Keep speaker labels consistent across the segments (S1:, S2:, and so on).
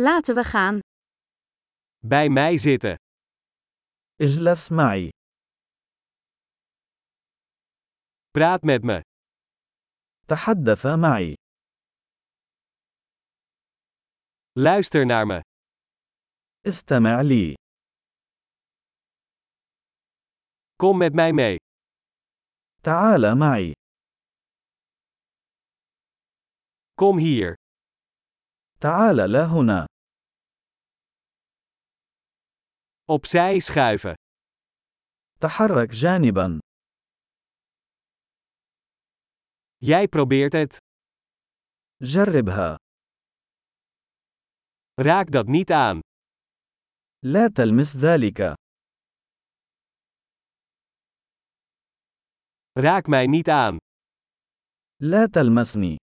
S1: Laten we gaan.
S2: Bij mij zitten.
S3: اجلس معي.
S2: Praat met me.
S3: تحدث معي.
S2: Luister naar me.
S3: استمع لي.
S2: Kom met mij mee.
S3: تعال معي.
S2: Kom hier.
S3: تعال لهنا.
S2: Opzij schuiven.
S3: تحرك جانبا.
S2: Jij probeert het.
S3: جربها.
S2: Raak dat niet aan.
S3: لا تلمس ذلك.
S2: Raak mij niet aan.
S3: لا تلمسني.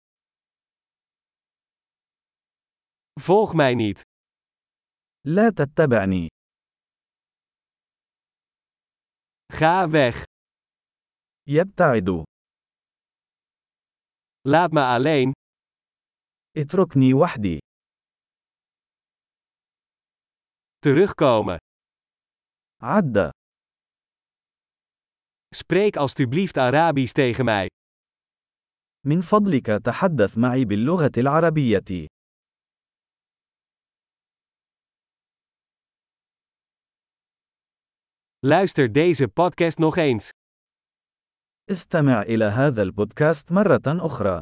S2: Volg mij niet.
S3: لا تتبعني.
S2: Ga weg.
S3: يبتعد.
S2: Laat me alleen.
S3: اتركني وحدي.
S2: Terugkomen.
S3: عد.
S2: Spreek alstublieft Arabisch tegen mij.
S3: من فضلك تحدث معي باللغة العربية.
S2: Luister deze podcast nog eens.
S3: استمع إلى هذا البودكاست مرة أخرى.